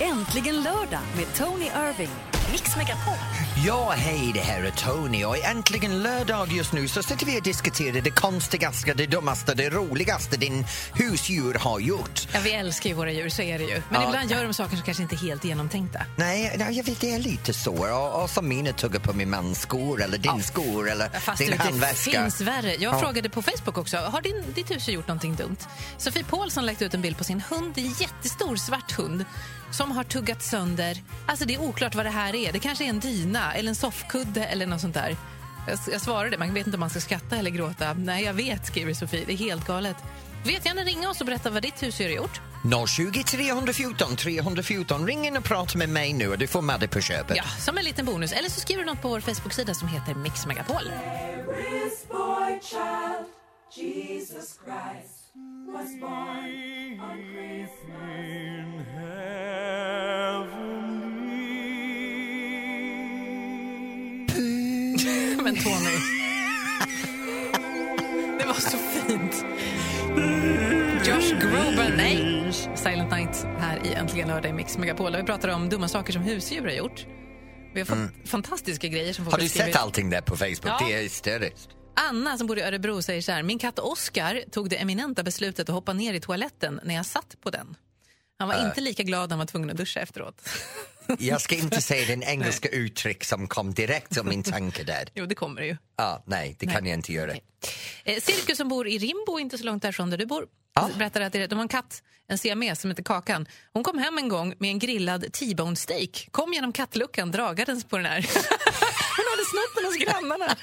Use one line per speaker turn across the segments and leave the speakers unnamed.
Äntligen lördag med Tony Irving. Mix Megapol.
Ja, hej, det här är Tony och äntligen lördag just nu så sitter vi och diskuterar det konstigaste, det dummaste, det roligaste din husdjur har gjort.
Ja, vi älskar ju våra djur, så är det ju. Men
Ja.
ibland gör de saker som kanske inte är helt genomtänkta.
Nej, nej jag vet, det är lite så. Och, och som mina tuggar på min mans skor eller din skor eller
Fast
din
du, det
handväska.
finns värre. Jag
Ja.
frågade på Facebook också, har din, ditt husdjur gjort någonting dumt? Sofie Paulsson lagt ut en bild på sin hund, det är en jättestor svart hund som har tuggat sönder, alltså det är oklart vad det här är. Det kanske är en dyna eller en soffkudde eller något sånt där. Jag, jag svarade, man vet inte om man ska skratta eller gråta. Nej, jag vet, skriver Sofie, det är helt galet. Vet gärna ringa oss och berätta vad ditt husdjur har gjort.
020 314 314. Ring in och prata med mig nu och du får med dig på köpet.
Ja, som en liten bonus. Eller så skriver du något på vår Facebook-sida som heter Mix Megapol.
This boy child, Jesus Christ, was born.
Men Tony. Det var så fint. Josh Groban, nej. Silent Night här i Äntligen lördag i Mix Megapol. Där vi pratar om dumma saker som husdjur har gjort. Vi har fått fantastiska grejer som folk
Har du
skrivit.
sett allting där på Facebook?
Ja.
Det är hysteriskt.
Anna som bor i Örebro säger så här. Min katt Oscar tog det eminenta beslutet att hoppa ner i toaletten när jag satt på den. Han var inte lika glad när han var tvungen att duscha efteråt.
Jag ska inte säga den engelska uttryck som kom direkt som min tanke där.
jo, det kommer det ju.
Ah, nej, det kan jag inte göra.
Eh, Cirkus som bor i Rimbo, inte så långt därifrån där du bor,
Ja.
berättade att det- de har en katt, en siames som heter Kakan. Hon kom hem en gång med en grillad T-bone steak, kom genom kattluckan dragandes på den här. Hon hade snott den hos grannarna.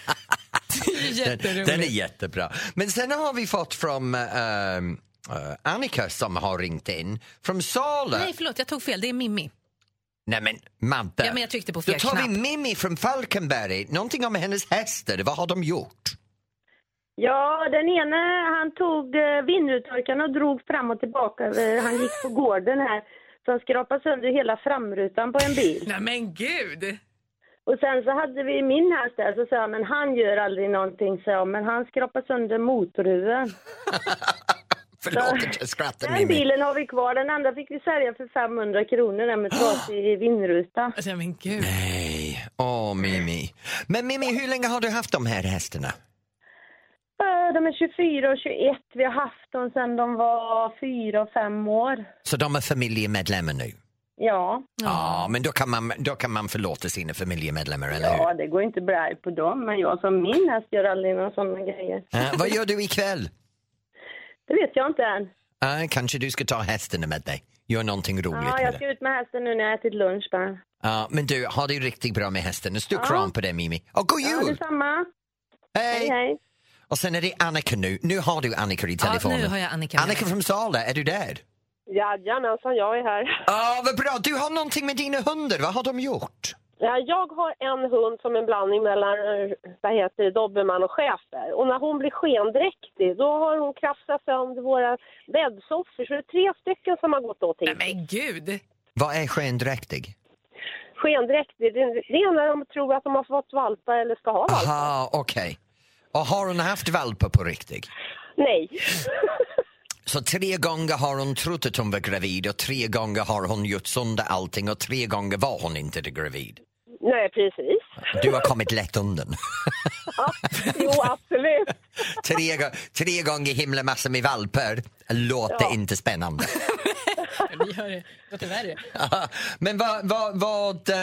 Det är ju
Den,
jätteroligt.
den är jättebra. Men sen har vi fått från ehm, eh, Annika som har ringt in från Sala.
Nej,
Nej,
förlåt, jag tog fel. Det är Mimmi.
men Madde.
Ja, men jag tryckte på
Då
fel
tar vi
knapp.
Mimmi från Falkenberg. Någonting om hennes hästar. Vad har de gjort?
Ja, den ene han tog eh, vindrutetorkaren och drog fram och tillbaka. över- Han gick på gården här. Så han skrapade sönder hela framrutan på en bil.
Nej, men gud!
Och sen så hade vi min häst där, så sa jag, men han gör aldrig någonting, så jag, men han skrapade sönder motorhuven.
Förlåt att jag skrattar
Den
Mimmi.
bilen har vi kvar, den andra fick vi sälja för 500 kronor, den med trasig vindruta.
Alltså, men gud.
Nej, åh Mimmi. Men Mimmi, hur länge har du haft de här hästarna?
Eh, De är 24 och 21, vi har haft dem sedan de var 4 och 5 år.
Så de är familjemedlemmar nu?
Ja,
Ja, men då kan, man, då kan man förlåta sina familjemedlemmar, eller hur?
ja det går inte att bli arg på dem, men jag som min häst gör aldrig några sådana grejer.
Eh, vad gör du ikväll?
Det vet jag inte än.
Uh, kanske du ska ta hästarna med dig? Gör någonting roligt
Ja,
med
jag
det.
ska ut med hästen nu när jag ätit lunch bara.
Ja, men du, ha det riktigt bra med hästen. En stor kram på dig Mimi. Och god
Ja,
jul!
detsamma. Hej,
hej.
hej.
Och sen är det Annika nu. Nu har du Annika i telefonen.
Ja, nu har jag Annika med.
Annika från Sala, är du där?
Jajamensan, jag är här.
Ja, vad bra! Du har någonting med dina hundar, vad har de gjort?
Ja, Jag har en hund som är en blandning mellan eh, vad heter det, dobermann och schäfer. Och när hon blir skendräktig då har hon krafsat sönder våra bäddsoffor. Så det är tre stycken som har gått åt
Nej,
hit.
men gud!
Vad är skendräktig?
Skendräktig, det det är när de tror att de har fått valpar eller ska ha valpar.
Aha, okej. Och har hon haft valpar på riktigt?
Nej.
Så tre gånger har hon trott att hon var gravid och tre gånger har hon gjort sönder allting och tre gånger var hon inte gravid.
Nej, precis.
Du har kommit lätt undan.
Ja. Jo, absolut.
tre, go- tre gånger himla massa med valpar låter inte spännande.
Vi gör det. Låter värre.
Men vad, vad, vad eh,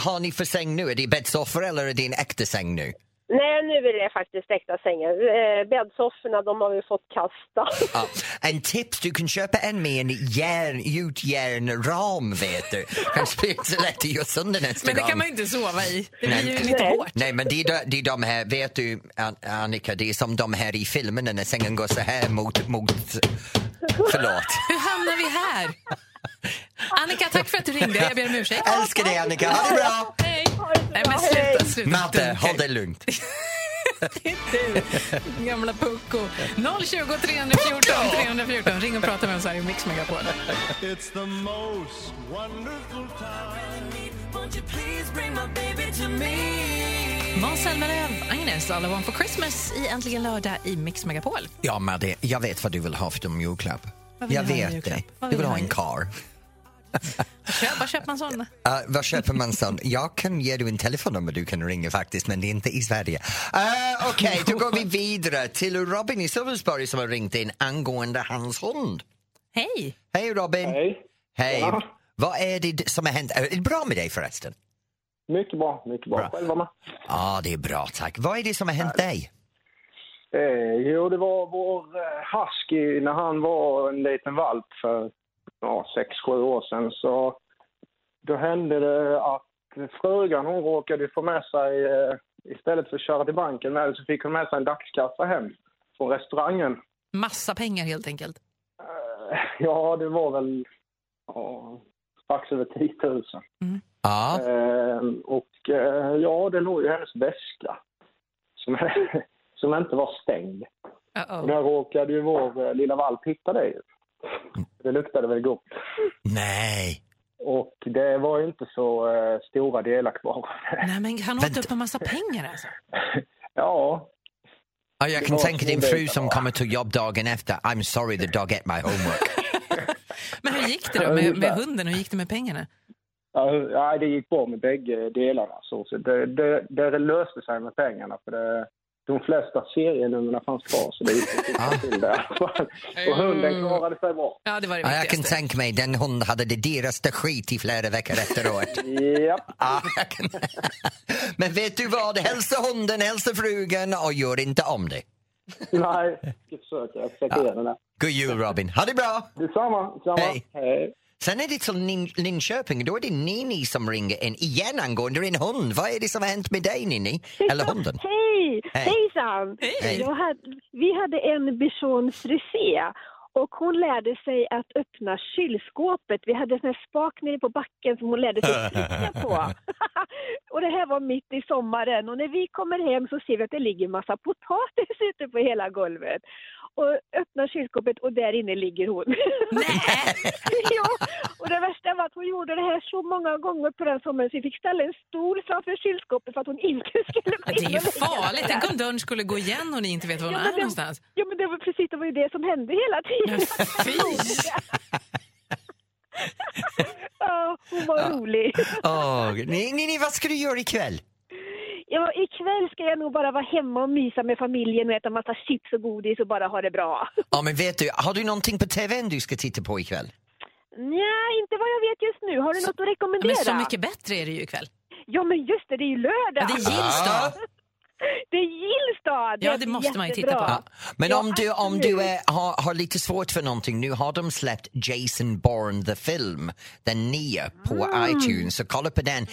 har ni för säng nu? Är det bäddsoffor eller är det en äkta säng nu?
Nej, nu är det faktiskt äkta sängar. Eh, Bäddsofforna, de har vi fått kasta.
Ja. En tips, du kan köpa en med en järn, gjutjärnram vet du. Kanske blir det så lätt att göra sönder nästa
Men det
gång.
kan man ju inte sova i. Det blir ju
Nej.
lite
Nej.
hårt.
Nej men det är, de- det är de här, vet du An- Annika, det är som de här i filmerna när sängen går så här mot, mot förlåt.
Hur hamnar vi här? Annika, tack för att du ringde. Jag ber om ursäkt.
Älskar dig Annika, ha det bra!
Hej! Nej, men sluta, sluta.
Madde,
Dunkar.
håll det lugnt.
Du, gamla pucko. 020 314 314. Ring och prata med oss här i Mix Megapol.
It's the most wonderful time.
Måns Zelmerlöw, Agnes, All I want for Christmas i Äntligen lördag i Mix Megapol.
Ja Madde, jag vet vad du vill ha för din julklapp.
Vad vill
Jag
du ha i
vet
julklapp?
det.
Vad
Du
vill
vill
du
ha
ha i
en kar.
Köp Var köper man sådana?
Uh, vad köper man sån? Jag kan ge dig en telefonnummer du kan ringa faktiskt, men det är inte i Sverige. Uh, Okej, då går vi vidare till Robin i Sölvesborg som har ringt in angående hans hund.
Hej!
Hej Robin!
Hej.
Hej.
Ja.
Vad är det som har hänt? Är det bra med dig förresten?
Mycket bra, mycket bra.
Bra.
Själva med?
Ja, det är bra tack. Vad är det som har hänt dig?
Eh, jo, det var vår eh, husky när han var en liten valp för ja, sex, sju år sedan. Så då hände det att frugan hon råkade få med sig, eh, istället för att köra till banken med det, så fick hon med sig en dagskassa hem från restaurangen.
Massa pengar helt enkelt.
Eh, ja, det var väl ja, strax över 10 000.
Ja,
Eh, och eh, ja, det låg ju hennes väska som, som inte var stängd. Och
Uh-oh.
där råkade ju vår eh, lilla valp hitta det. ju. Det luktade väl gott.
nej.
Och det var ju inte så eh, stora delar kvar.
Nej, men han åt
Vänta.
upp en massa pengar alltså.
ja,
Ja, jag
Det
kan
var
tänka din
två
fru
bitar
som
bara.
kommer till jobb dagen efter. I'm sorry the dog ate my homework.
Men hur gick det då med, med hunden? Hur gick det med pengarna?
ja, nej, det gick bra med bägge delarna. Så, så det, det, det löste sig med pengarna. För det, de flesta serienumren fanns kvar, så det gick inte till det. Och hunden klarade sig bra.
Ja, det var det
Ja, jag kan
viktigaste.
tänka mig, den hunden hade det dyraste skit i flera veckor efteråt.
Japp.
Ja, jag kan... Men vet du vad? Hälsa hunden, hälsa frugan och gör inte om det.
Nej, jag ska försöka. Jag försöker igenom det.
God jul Robin, ha det bra!
Detsamma, detsamma.
Hej.
Hej.
Sen är det till Lin- Linköping, då är det Nini som ringer in igen angående en hund. Vad är det som har hänt med dig Nini? Eller hunden?
Hej!
Hej.
Hejsan!
Hej.
Jag hade, vi hade en bichon frisé och hon lärde sig att öppna kylskåpet. Vi hade en sån här spak nere på backen som hon lärde sig att trycka på. och det här var mitt i sommaren och när vi kommer hem så ser vi att det ligger massa potatis ute på hela golvet. Och öppnar kylskåpet och där inne ligger hon. ja, och det värsta var att hon gjorde det här så många gånger på den sommaren så vi fick ställa en stol framför kylskåpet för att hon inte skulle gå
Ja,
in
Det är ju
och lägga sig
farligt.
där.
Tänk om dörren skulle gå igen och ni inte vet var hon
Ja,
är
men det-
någonstans.
Ja, men det var precis det var ju det som hände hela tiden.
Fy!
Ja, hon var rolig.
Åh, Nini, Nini, vad ska du göra ikväll?
Ja, ikväll ska jag nog bara vara hemma och mysa med familjen och äta massa chips och godis och bara ha det bra.
Ja men vet du, har du någonting på tvn du ska titta på ikväll?
Nej, inte vad jag vet just nu. Har du något att rekommendera?
Men Så mycket bättre är det ju ikväll.
Ja, men just det, det är ju lördag.
Ja, det är Gills dag.
Det är Gillstad!
Ja, det måste man ju titta
jättebra.
på.
Men
Ja,
om du, om du
absolut.
är, har, har lite svårt för någonting, nu har de släppt Jason Bourne the film, den nya, på
Ah.
iTunes, så kolla på den.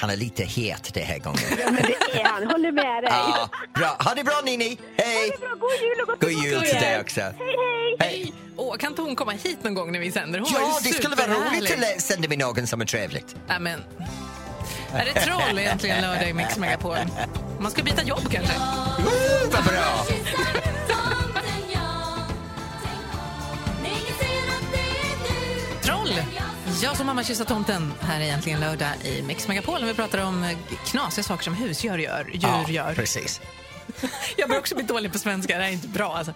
Han är lite het det här gången.
Men det är han, håller med dig.
ja, bra. Ha det bra Nini! Hej!
Det är bra, god jul och gott
God
nytt
jul
år.
till dig också!
Hej, hej!
Hej!
Åh, kan inte hon komma hit någon gång när vi sänder? Hon var
Ja,
ju
det skulle vara roligt
superhärlig.
att lä- sända med någon som är trevligt.
Nej, men... Är det troll egentligen lördag i Mix Megapol? Man ska byta jobb kanske.
Woo, vad bra!
Troll! Jag som mamma kysser tomten här är egentligen lördag i Mix Megapol när vi pratar om eh, knasiga saker som husdjur gör. Djur
Ja,
gör.
precis.
Jag blir också bli dålig på svenska, det här är inte bra alltså.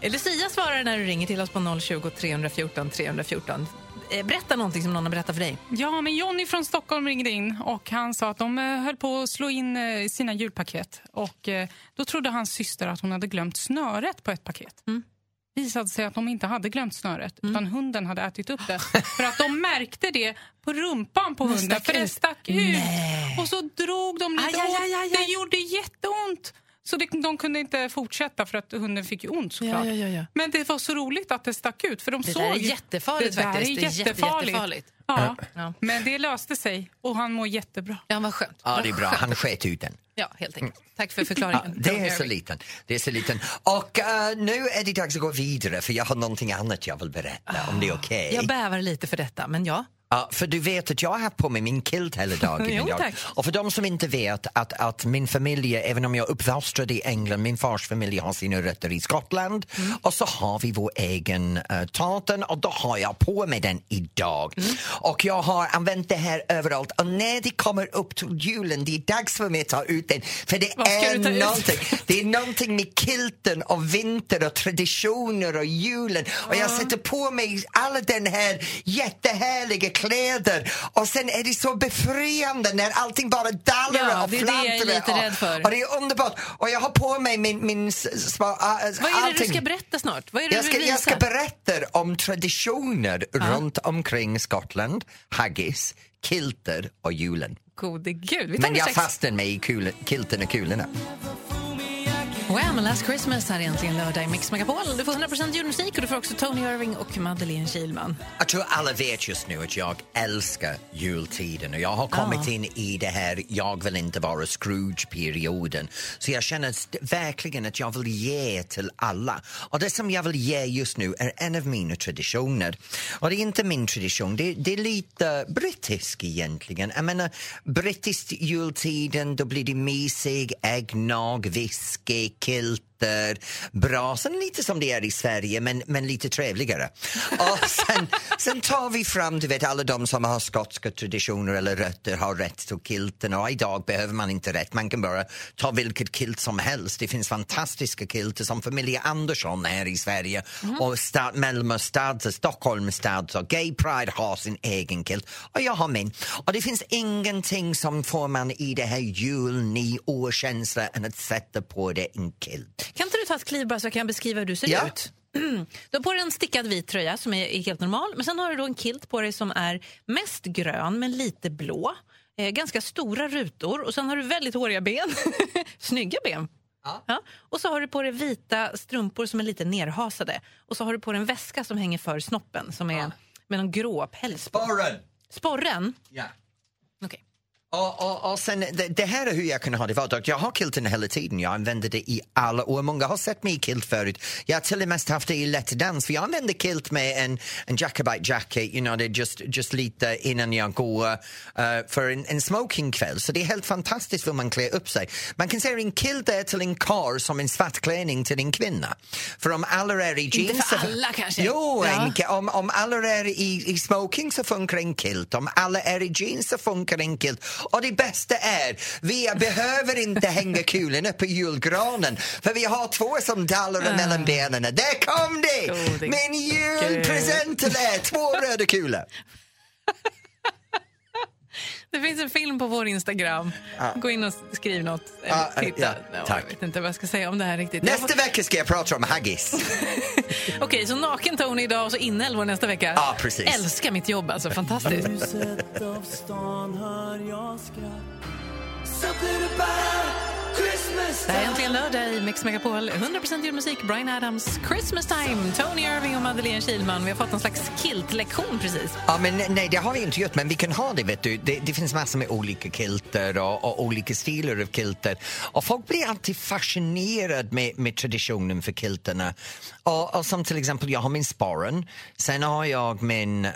Eh, Lucia svarar när du ringer till oss på 020 314 314. Eh, Berätta någonting som någon har berättat för dig.
Ja, men Jonny från Stockholm ringde in och han sa att de eh, höll på att slå in eh, sina julpaket. Och eh, då trodde hans syster att hon hade glömt snöret på ett paket.
Mm.
Visade sig att de inte hade glömt snöret, utan hunden hade ätit upp det. För att de märkte det på rumpan på hunden,
stack
för det
ut.
stack ut. Och så drog de lite
Aj, aj, aj, aj,
åt. Det gjorde jätteont. Så det, de kunde inte fortsätta för att hunden fick ju ont såklart.
Ja, ja, ja, ja.
Men det var så roligt att det stack ut för de
Det
såg
där är
ju-
jättefarligt
det där
faktiskt.
Är
Det är jätte-
jättefarligt.
jättefarligt.
Ja.
Ja.
Eh, Men det löste sig och han mår jättebra.
Ja, vad skönt.
Ja, det är bra. Han sket ut den.
Ja, helt enkelt. Tack för
Ja,
förklaringen.
det är så liten. Det är så liten. Och eh, nu är det dags att gå vidare för jag har någonting annat jag vill berätta om det är okej.
Ah, Jag bävar lite för detta, men ja.
Ja, för du vet att jag har haft på mig min kilt hela dagen
Jo,
idag.
tack.
Och för de som inte vet att, att min familj, även om jag är uppfostrad i England, min fars familj har sina rötter i Skottland
Mm.
och så har vi vår egen uh, tartan och då har jag på mig den idag.
Mm.
Och jag har använt det här överallt och när det kommer upp till julen, det är dags för mig att ta ut den. För det
Vad ska
är
du ta ut?
någonting. Det är någonting med kilten och vinter och traditioner och julen. Och jag sätter på mig alla den här jättehärliga kläder och sen är det så befriande när allting bara dallar
Ja,
och
det är det jag är
flantrar.
lite
Ja,
rädd för.
Och det är underbart. Och jag har på mig min... min s- s- sma- äh,
Vad är det
allting.
du ska berätta snart? Vad är det
jag, ska,
du
jag ska
visar?
berätta om traditioner runt omkring Skottland, haggis, kilter och julen.
Gode gud. Vi tar
Men
det
jag
strax.
fastnar mig i kul, kilten och kulorna.
Wham! Last Christmas här egentligen lördag i Mix Megapol. Du får 100% julmusik och du får också Tony Irving och Madeleine Kilman.
Jag tror alla vet just nu att jag älskar jultiden och jag har kommit
Ja.
in i det här jag vill inte vara Scrooge-perioden. Så jag känner st- verkligen att jag vill ge till alla. Och det som jag vill ge just nu är en av mina traditioner. Och det är inte min tradition, det, det är lite brittisk egentligen. Jag menar, brittiskt jultiden, då blir det mysig, äggnog, whisky, kilt filter, brasan lite som det är i Sverige men, men lite trevligare. Och sen, sen tar vi fram du vet, alla de som har skotska traditioner eller rötter har rätt till kilten och idag behöver man inte rätt, man kan bara ta vilket kilt som helst. Det finns fantastiska kilter som familjen Andersson här i Sverige och stad, Malmö stads och Stockholms stads och Gay Pride har sin egen kilt och jag har min. Och det finns ingenting som får man i det här jul, nyårskänslan än att sätta på det en kilt.
Kan inte du ta ett kliv bara så jag kan beskriva hur du ser
Ja.
ut? Du har på dig en stickad vit tröja som är är helt normal. Men sen har du då en kilt på dig som är mest grön men lite blå. Eh, ganska stora rutor och sen har du väldigt håriga ben. Snygga ben. Ja. Och så har du på dig vita strumpor som är lite nerhasade. Och så har du på dig en väska som hänger för snoppen som är med någon grå päls på.
Sporren!
Sporren?
Ja.
Okej.
Och, och, och sen, det, det här är hur jag kan ha det i vardagen. Jag har kilten hela tiden. Jag använder det i alla år. Många har sett mig i kilt förut. Jag har till och med haft det i lätt dans. För jag använder kilt med en, en Jacobite jacket, you know, det är just, just lite innan jag går eh, för en, en smokingkväll. Så det är helt fantastiskt hur man klär upp sig. Man kan säga en kilt är till en karl som en svart klänning till en kvinna. För om alla är i jeans...
för
så-
alla kanske.
Jo,
Ja.
en Ke- om, om alla är i, i smoking så funkar en kilt, om alla är i jeans så funkar en kilt. Och det bästa är, vi behöver inte hänga kulorna på julgranen för vi har två som dallar mellan benen. Där kom det!
Gode
Min julpresent till er, två röda kulor.
Det finns en film på vår Instagram.
Ja.
Gå in och skriv något.
Ja,
Eller titta.
ja,
Jag
tack.
vet inte vad jag ska säga om det här riktigt. Jag får-
Nästa vecka ska jag prata om haggis.
Okej, så naken Tony idag och så inälvor nästa vecka.
Ja, precis.
Älskar mitt jobb alltså, fantastiskt.
av stan hör jag skratt Something about Christmas
Det här är äntligen lördag i Mix Megapol. 100% julmusik, Bryan Adams, Christmas time, Tony Irving och Madeleine Kilman. Vi har fått en slags kiltlektion precis.
Ja, men nej, det har vi inte gjort, men vi kan ha det. vet du. Det, det finns massor med olika kilter och, och olika stilar av kilter. Och folk blir alltid fascinerade med, med traditionen för kilterna. Och, och som till exempel, jag har min sporren, sen har jag min, eh,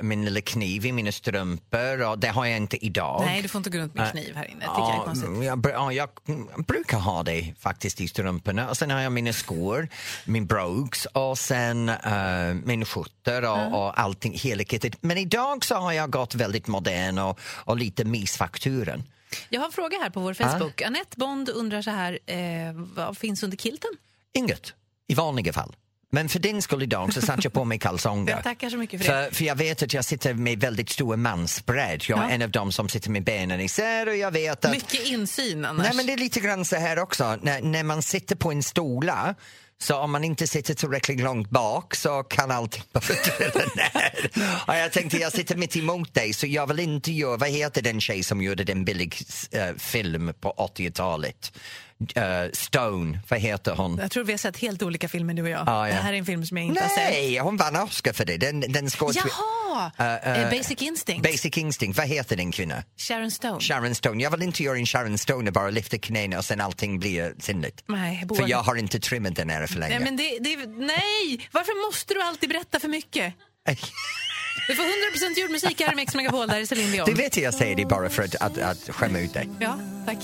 min lilla kniv i mina strumpor och det har jag inte idag.
Nej, du får inte gå runt med
Nej.
kniv här inne. Det tycker jag är
Ja,
konstigt.
jag, br- ja, jag mm, brukar ha det faktiskt i strumporna. Och sen har jag mina skor, min brogues och sen eh, min skjortor och,
Mm.
och allting, hela kittet. Men idag så har jag gått väldigt modern och, och lite mysfakturen.
Jag har en fråga här på vår Facebook. Annette Bond undrar så här, eh, vad finns under kilten?
Inget, i vanliga fall. Men för din skull idag så satte jag på mig kalsonger.
Jag tackar så mycket för det.
För, för jag vet att jag sitter med väldigt stor mansbredd. Jag är
Ja.
en av dem som sitter med benen isär och jag vet att
Mycket insyn annars.
Nej, men det är lite grann så här också. När, när man sitter på en stola så om man inte sitter tillräckligt långt bak så kan allting bara fördröja ner. Och jag tänkte, jag sitter mitt emot dig så jag vill inte göra... Vad heter den tjej som gjorde den billig eh, film på 80-talet? Eh, Stone, vad heter hon?
Jag tror vi har sett helt olika filmer du och jag.
Ja, ja.
Det här är en film som jag inte har sett.
Nej, hon vann Oscar för det. Den, den skådespel-
Jaha!
Eh, eh,
Eh, Basic Instinct.
Basic Instinct, vad heter den kvinna?
Sharon Stone.
Sharon Stone. Jag vill inte göra en Sharon Stone och bara lyfta knäna och sen allting blir sinnligt.
Nej,
För
Boa.
jag har inte trimmat den här för länge.
Mm. Nej, men det, det, nej, varför måste du alltid berätta för mycket? Du får 100% julmusik här i Mix Megapol, där är Céline Dion.
Du vet att jag säger det bara för att, att, att skämma ut dig.
Ja, tack.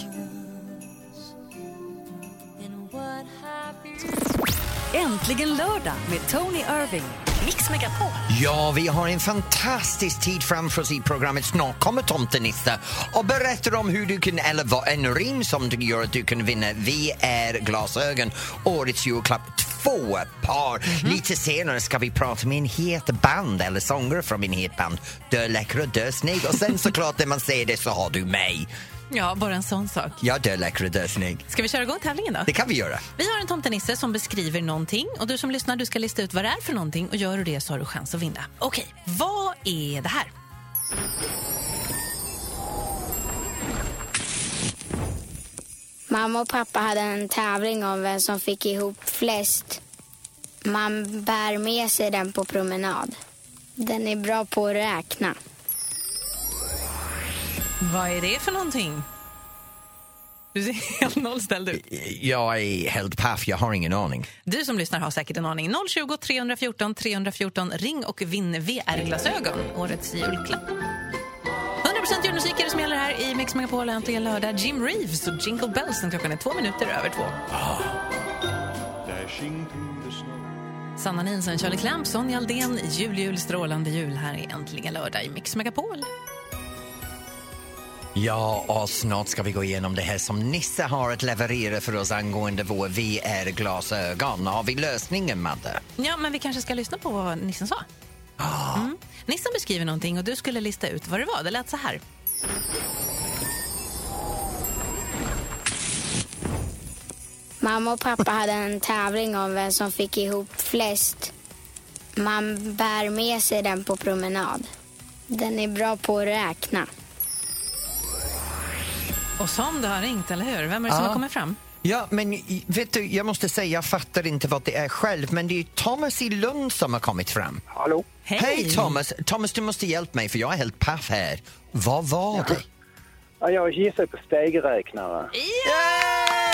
Äntligen lördag med Tony Irving. Mix Megapol.
Ja, vi har en fantastisk tid framför oss i programmet. Snart kommer tomtenisse och berättar om hur du kan, eller vad en rim som du gör att du kan vinna VR-glasögon, årets julklapp, två par. Lite senare ska vi prata med en het band, eller sångare från en het band. Dö läcker och dö snygg. Och sen såklart när man säger det så har du mig.
Ja, bara en sån sak.
Jag dö läcker och dö snygg.
Ska vi köra igång tävlingen då?
Det kan vi göra.
Vi har en tomtenisse som beskriver någonting och du som lyssnar du ska lista ut vad det är för någonting och gör du det så har du chans att vinna. Okej, vad är det här?
Mamma och pappa hade en tävling om vem som fick ihop flest. Man bär med sig den på promenad. Den är bra på att räkna.
Vad är det för någonting? Du ser helt nollställd ut.
Jag är helt paff, jag har ingen aning.
Du som lyssnar har säkert en aning. 020 314 314. Ring och vinn VR-glasögon, årets julklapp. 100% julmusiker som gäller här i Mix Megapol. Äntligen lördag. Jim Reeves och Jingle Bells när klockan är två minuter över två.
Dashing through the snow.
Sanna Nielsen, Charlie Clamp, Sonja Aldén. Jul, jul, strålande jul här i Äntligen lördag i Mix Megapol.
Ja, och snart ska vi gå igenom det här som Nisse har att leverera för oss angående vår VR-glasögon. Har vi lösningen, Madde?
Ja, men vi kanske ska lyssna på vad Nissen sa. Mm. Nissen beskriver någonting och du skulle lista ut vad det var. Det lät så här.
Mamma och pappa hade en tävling om vem som fick ihop flest. Man bär med sig den på promenad. Den är bra på att räkna.
Och som du har ringt, eller hur? Vem är det som
Ja.
har kommit fram?
Ja, men i- vet du, jag måste säga, jag fattar inte vad det är själv, men det är ju Thomas i Lund som har kommit fram.
Hallå?
Hej, Thomas! Thomas, du måste hjälpa mig för jag är helt paff här. Vad var det?
Ja, jag gissar på stegräknare.
Ah,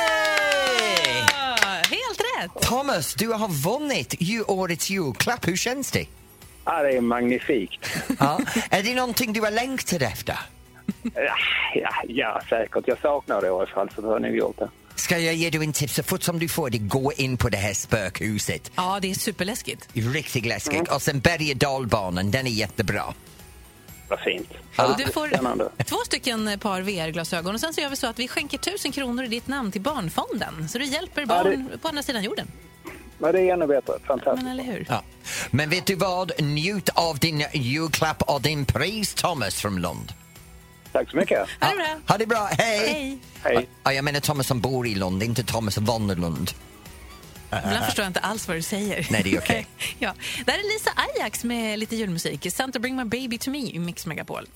Helt rätt!
Thomas, du har vunnit ju årets julklapp. Hur känns det?
Ja, det är magnifikt.
Ja. Är det någonting du har längtat efter?
Ja, ja, ja, säkert. Jag saknar det i alla fall, så då har ni gjort det.
Ska jag ge dig en tips? Så fort som du får det, gå in på det här spökhuset.
Ja, det är superläskigt.
Riktigt läskigt. Och sen berg och dalbanan, den är jättebra.
Vad fint.
Ja.
Du får två stycken eh, par VR-glasögon och sen så gör vi så att vi skänker tusen kronor i ditt namn till Barnfonden. Så du hjälper barn på andra sidan jorden.
Men det är ännu bättre. Fantastiskt.
Men eller hur?
Ja. Men vet du vad? Njut av din julklapp och din pris, Thomas från Lund.
Tack så mycket.
Ha det bra.
Ha det bra. Hej!
Hej.
Hej.
Ja, jag menar Thomas som bor i Lund, inte Thomas von der Lund.
Ibland förstår jag inte alls vad du säger.
Nej, det är okej.
ja. Där är Lisa Ajax med lite julmusik. Santa Bring My Baby To Me i Mix Megapol.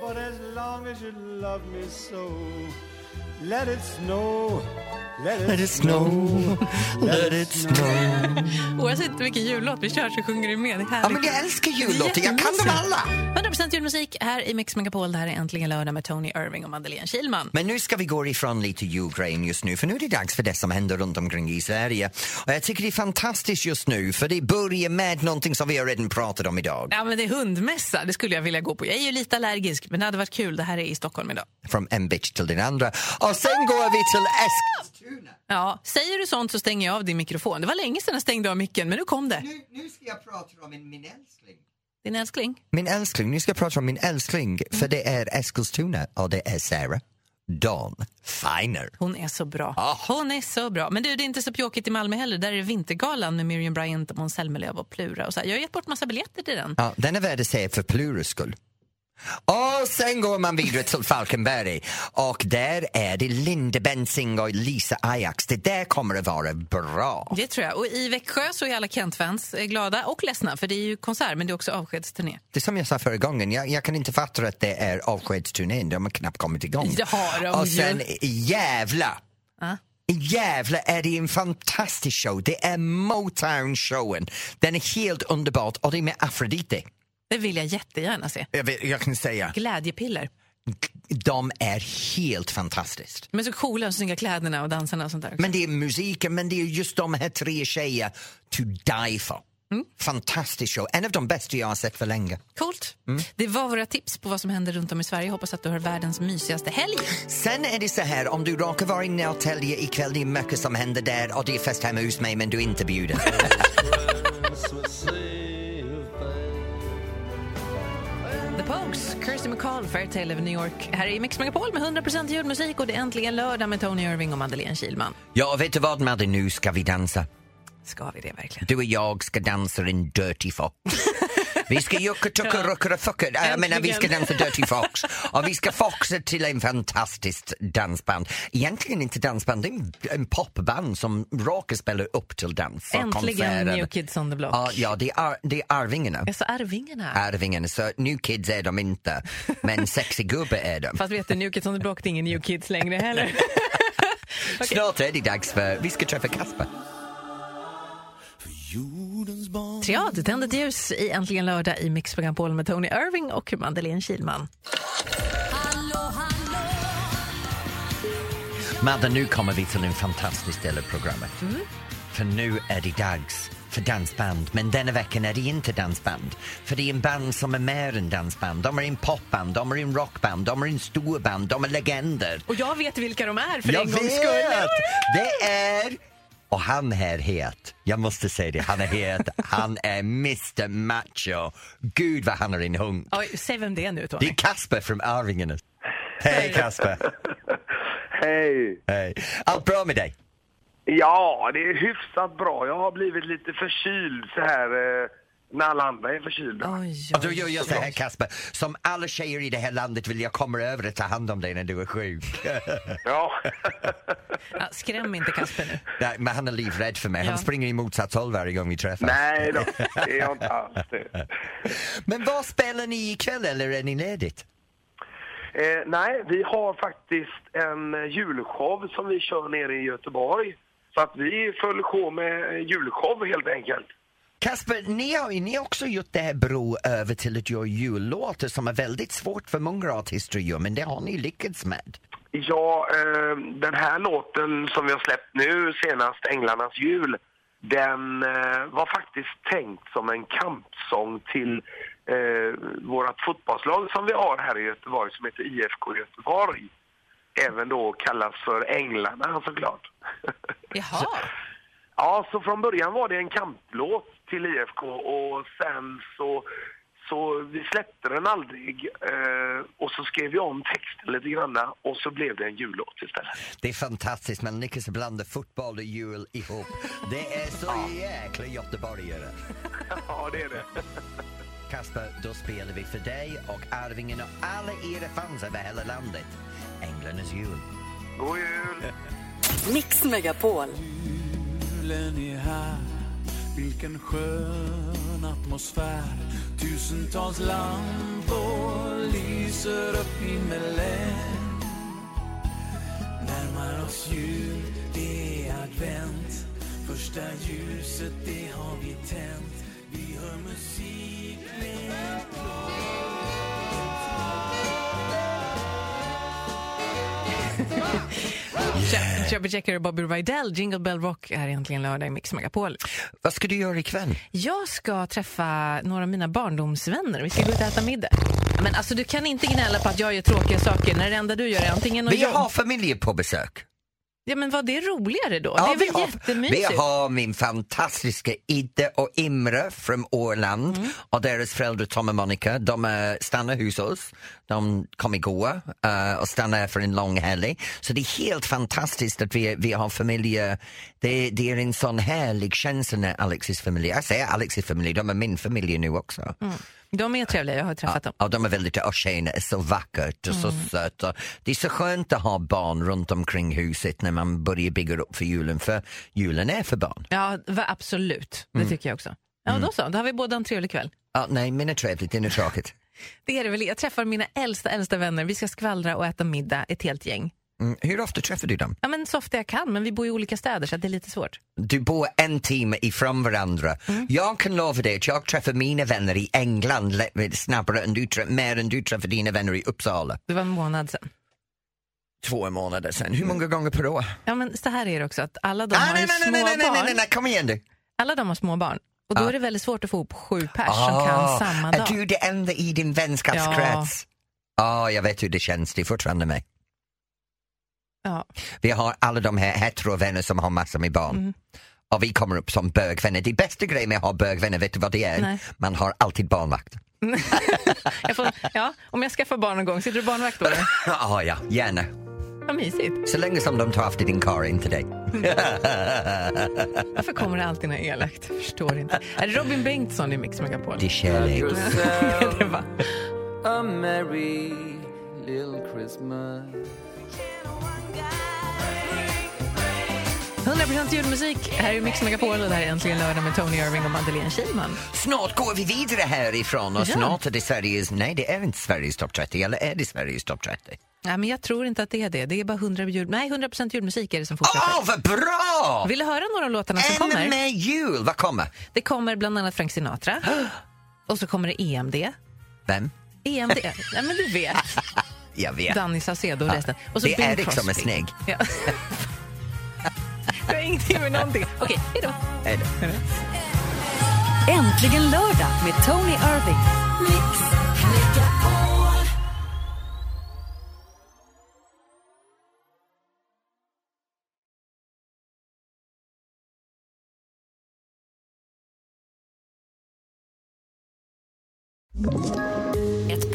But as long as you love me so, let it snow. Let it,
let it snow.
Oavsett vilken jullåt vi kör så sjunger du med. Det är
Ja, men jag älskar jullåtar. Jag kan dem alla.
100% julmusik här i Mix Megapol. Det här är Äntligen lördag med Tony Irving och Madeleine Kilman.
Men nu ska vi gå ifrån lite julgrejen just nu för nu är det dags för det som händer runt omkring i Sverige. Och jag tycker det är fantastiskt just nu för det börjar med någonting som vi har redan pratat om idag.
Ja, men det är hundmässa. Det skulle jag vilja gå på. Jag är ju lite allergisk, men det hade varit kul. Det här är i Stockholm idag.
Från en bitch till den andra. Och sen går vi till Eskilstuna.
Ja, säger du sånt så stänger jag av din mikrofon. Det var länge sedan jag stängde av micken, men nu kom det.
Nu ska jag prata om en min älskling.
Din älskling?
Min älskling, nu ska jag prata om min älskling för det är Eskilstuna och det är Sarah Dawn Finer.
Hon är så bra.
Ah.
Hon är så bra. Men du, det är inte så pjåkigt i Malmö heller. Där är det Vintergalan med Miriam Bryant, och Måns Zelmerlöw och Plura. Och så här. Jag har gett bort massa biljetter till den.
Ja, den är värd att se för Pluras skull. Och sen går man vidare till Falkenberg och där är det Linda Bensing och Lisa Ajax. Det där kommer att vara bra.
Det tror jag. Och i Växjö så är alla Kent-fans eh, glada och ledsna, för det är ju konsert, men det är också avskedsturné.
Det är som jag sa förra gången, jag, jag kan inte fatta att det är avskedsturnén, de har knappt kommit igång.
Det har de
och
ju. Ah.
sen i Gävle,
Ja.
i Gävle är det en fantastisk show. Det är Motown-showen. Den är helt underbart och det är med Afrodite.
Det vill jag jättegärna se.
Jag, vet, jag kan säga,
Glädjepiller.
de är helt fantastiskt.
De är så coola, de snygga kläderna och dansarna och sånt där.
Men det är musiken, men det är just de här tre tjejer to die for. Fantastisk show. En av de bästa jag har sett för länge.
Coolt.
Mm.
Det var våra tips på vad som händer runt om i Sverige. Hoppas att du har världens mysigaste helg.
Sen är det så här, om du råkar vara i Norrtälje ikväll, det är mycket som händer där och det är fest hemma hos mig men du är inte bjuden.
The Pogues, Kirsty McCall, Fairtale of New York. Här är Mix Megapol med 100% julmusik och det är äntligen lördag med Tony Irving och Madeleine Kilman.
ja, vet du vad Madde, nu ska vi dansa.
Ska vi det verkligen?
Du och jag ska dansa en Dirty Fox. Vi ska jucka, tucka, rucka, fucka. Äh, Jag menar, vi ska
Äntligen.
dansa Dirty Fox. Och vi ska foxa till en fantastiskt dansband. Egentligen inte dansband, det är en- en popband som råkar spela upp till dans. för
Äntligen
konserten.
New Kids on the Block.
Ja, ja det, är, Ar- det är Arvingarna.
Alltså Arvingarna.
Arvingen, så New Kids är de inte, men sexy gubbe är de.
Fast vet du, New Kids on the Block det är ingen New Kids längre heller.
Snart är det dags för, vi ska träffa Kasper.
Triad, det tänder ett ljus i Äntligen lördag i Mix Megapol med Tony Irving och Madeleine Kilman.
Madde, nu kommer vi till en fantastisk del av programmet. För nu är det dags för dansband, men denna veckan är det inte dansband. För det är en band som är mer än dansband. De är en popband, de är en rockband, de är en storband, de är legender.
Och jag vet vilka de är för
Jag
en gångs
vet!
skull.
Det är... Och han här het. Jag måste säga det, han är het. Han är Mr Macho. Gud vad han är en hunk.
Oj, säg vem det är nu
Det är
Tony.
Kasper från Arvingarna. Hej Kasper!
Hej!
Hej! Allt bra med dig?
Ja, det är hyfsat bra. Jag har blivit lite förkyld så här eh, när alla andra är förkylda.
Och
Alltså,
då gör jag så här Kasper, som alla tjejer i det här landet vill jag komma över och ta hand om dig när du är sjuk.
Ja.
Ja, skräm inte Kasper nu.
Nej, men han är livrädd för mig,
Ja.
han springer i motsatt håll varje gång vi träffas.
Nej då, det är jag inte alls. det.
Men vad spelar ni ikväll eller är ni ledigt?
Eh, nej, vi har faktiskt en eh, julshow som vi kör nere i Göteborg. Så att vi är full sjå med eh, julshow helt enkelt.
Kasper, ni har ju ni har också gjort det här bro över till att göra jullåtar som är väldigt svårt för många artister att göra, men det har ni lyckats med.
Ja, eh, den här låten som vi har släppt nu senast, Änglarnas jul, den eh, var faktiskt tänkt som en kampsång till eh, vårt fotbollslag som vi har här i Göteborg som heter IFK Göteborg. Även då kallas för Änglarna såklart.
Jaha.
Ja, så från början var det en kamplåt till IFK och sen så, så vi släppte den aldrig eh, och så skrev vi om texten lite grann och så blev det en jullåt istället.
Det är fantastiskt, man lyckas blanda fotboll och jul ihop. Det är så jäkla göteborgare.
Ja, det är det.
Kasper, då spelar vi för dig och Arvingen och alla era fans över hela landet. Änglarnas jul.
God jul!
Mix Megapol.
Julen är här, vilken skön atmosfär Tusentals lampor lyser upp himmelen Närmar oss jul, det är advent Första ljuset, det har vi tänt Vi hör musik med
Chubby Checker och Bobby Rydell, Jingle Bell Rock är egentligen lördag i Mix Megapol.
Vad ska du göra ikväll?
Jag ska träffa några av mina barndomsvänner. Vi ska gå ut och äta middag. Men alltså, du kan inte gnälla på att jag gör tråkiga saker när det enda du gör är antingen att
Vi
jobba-
har familjer på besök.
Ja, men var det roligare då?
Ja,
det är väl
vi, har,
jättemysigt?
vi har min fantastiska Idde och Imre från Åland
Mm.
och deras föräldrar Tom och Monica. De eh, stannar hos oss. De kom igår eh, och stannar här för en lång helg. Så det är helt fantastiskt att vi, vi har familjer. Det, det är en sån härlig känsla när Alexis familj, jag säger Alexis familj, de är min familj nu också.
Mm. De är trevliga, jag har träffat dem.
Ja, de är väldigt, och tjejerna är så vackert och så
Mm.
sött. Och det är så skönt att ha barn runt omkring huset när man börjar bygga upp för julen, för julen är för barn.
Ja, va, absolut. Det
Mm.
tycker jag också. Ja, då så. Då har vi båda en trevlig kväll.
Ja, nej, men det är trevligt, det är tråkigt.
Det är det väl. Jag träffar mina äldsta, äldsta vänner. Vi ska skvallra och äta middag, ett helt gäng.
Mm. Hur ofta träffar du dem?
Ja, men så ofta jag kan, men vi bor i olika städer så att det är lite svårt.
Du bor en timme ifrån varandra. Jag kan lova dig att jag träffar mina vänner i England le- snabbare än du, trä- mer än du träffar dina vänner i Uppsala.
Det var en månad sedan.
Två månader sedan. Hur många gånger per år?
Ja, men så här är det också, att alla de
Ah,
har
nej,
ju
nej, nej,
små
nej, Ah. nej, nej,
barn.
nej, nej, kom igen du.
Alla de har små barn. Och då är det väldigt svårt att få ihop sju pers
Ah.
som kan samma
Är
dag.
du det enda i din vänskapskrets? Ja, jag vet hur det känns. Det är fortfarande mig.
Ja.
Vi har alla de här heterovänner som har massor med barn.
Mhm.
Och vi kommer upp som bögvänner. Det bästa grejen med att ha bögvänner, vet du vad det är?
Nej.
Man har alltid barnvakt.
Jag får, ja, om jag skaffar barn någon gång, sitter du barnvakt då? eller?
ah, ja, gärna.
Vad mysigt.
Så länge som de tar efter din kar, inte dig.
Varför kommer det alltid när jag är elakt? Jag förstår inte. Är det Robin Bengtsson i Mix Megapol?
Det är kärlek.
det var.
A merry little Christmas
100% julmusik. Här är Mix Megapol och det här är Äntligen lördag med Tony Irving och Madeleine Kihlman.
Snart går vi vidare härifrån och
Ja.
snart är det Sveriges... Nej, det är inte Sveriges topp 30. Eller är det Sveriges topp 30?
Nej, men jag tror inte att det är det. Det är bara 100 jul... Nej, 100% julmusik är det som fortsätter.
Åh, vad bra!
Vill du höra några av låtarna som kommer?
Ah! Ännu mer jul! Vad kommer?
Det kommer bland annat Frank Sinatra. Och så kommer det E EMD.
Vem?
EMD? Nej, men du vet.
Jag vet.
Danny Saucedo och
Ja.
resten. Och så
Det är
Bing
Erik som är
Crosby.
snygg.
Ja. det har ingenting med någonting. Okej, hejdå.
Hej då.
Äntligen lördag med Tony Irving. Ett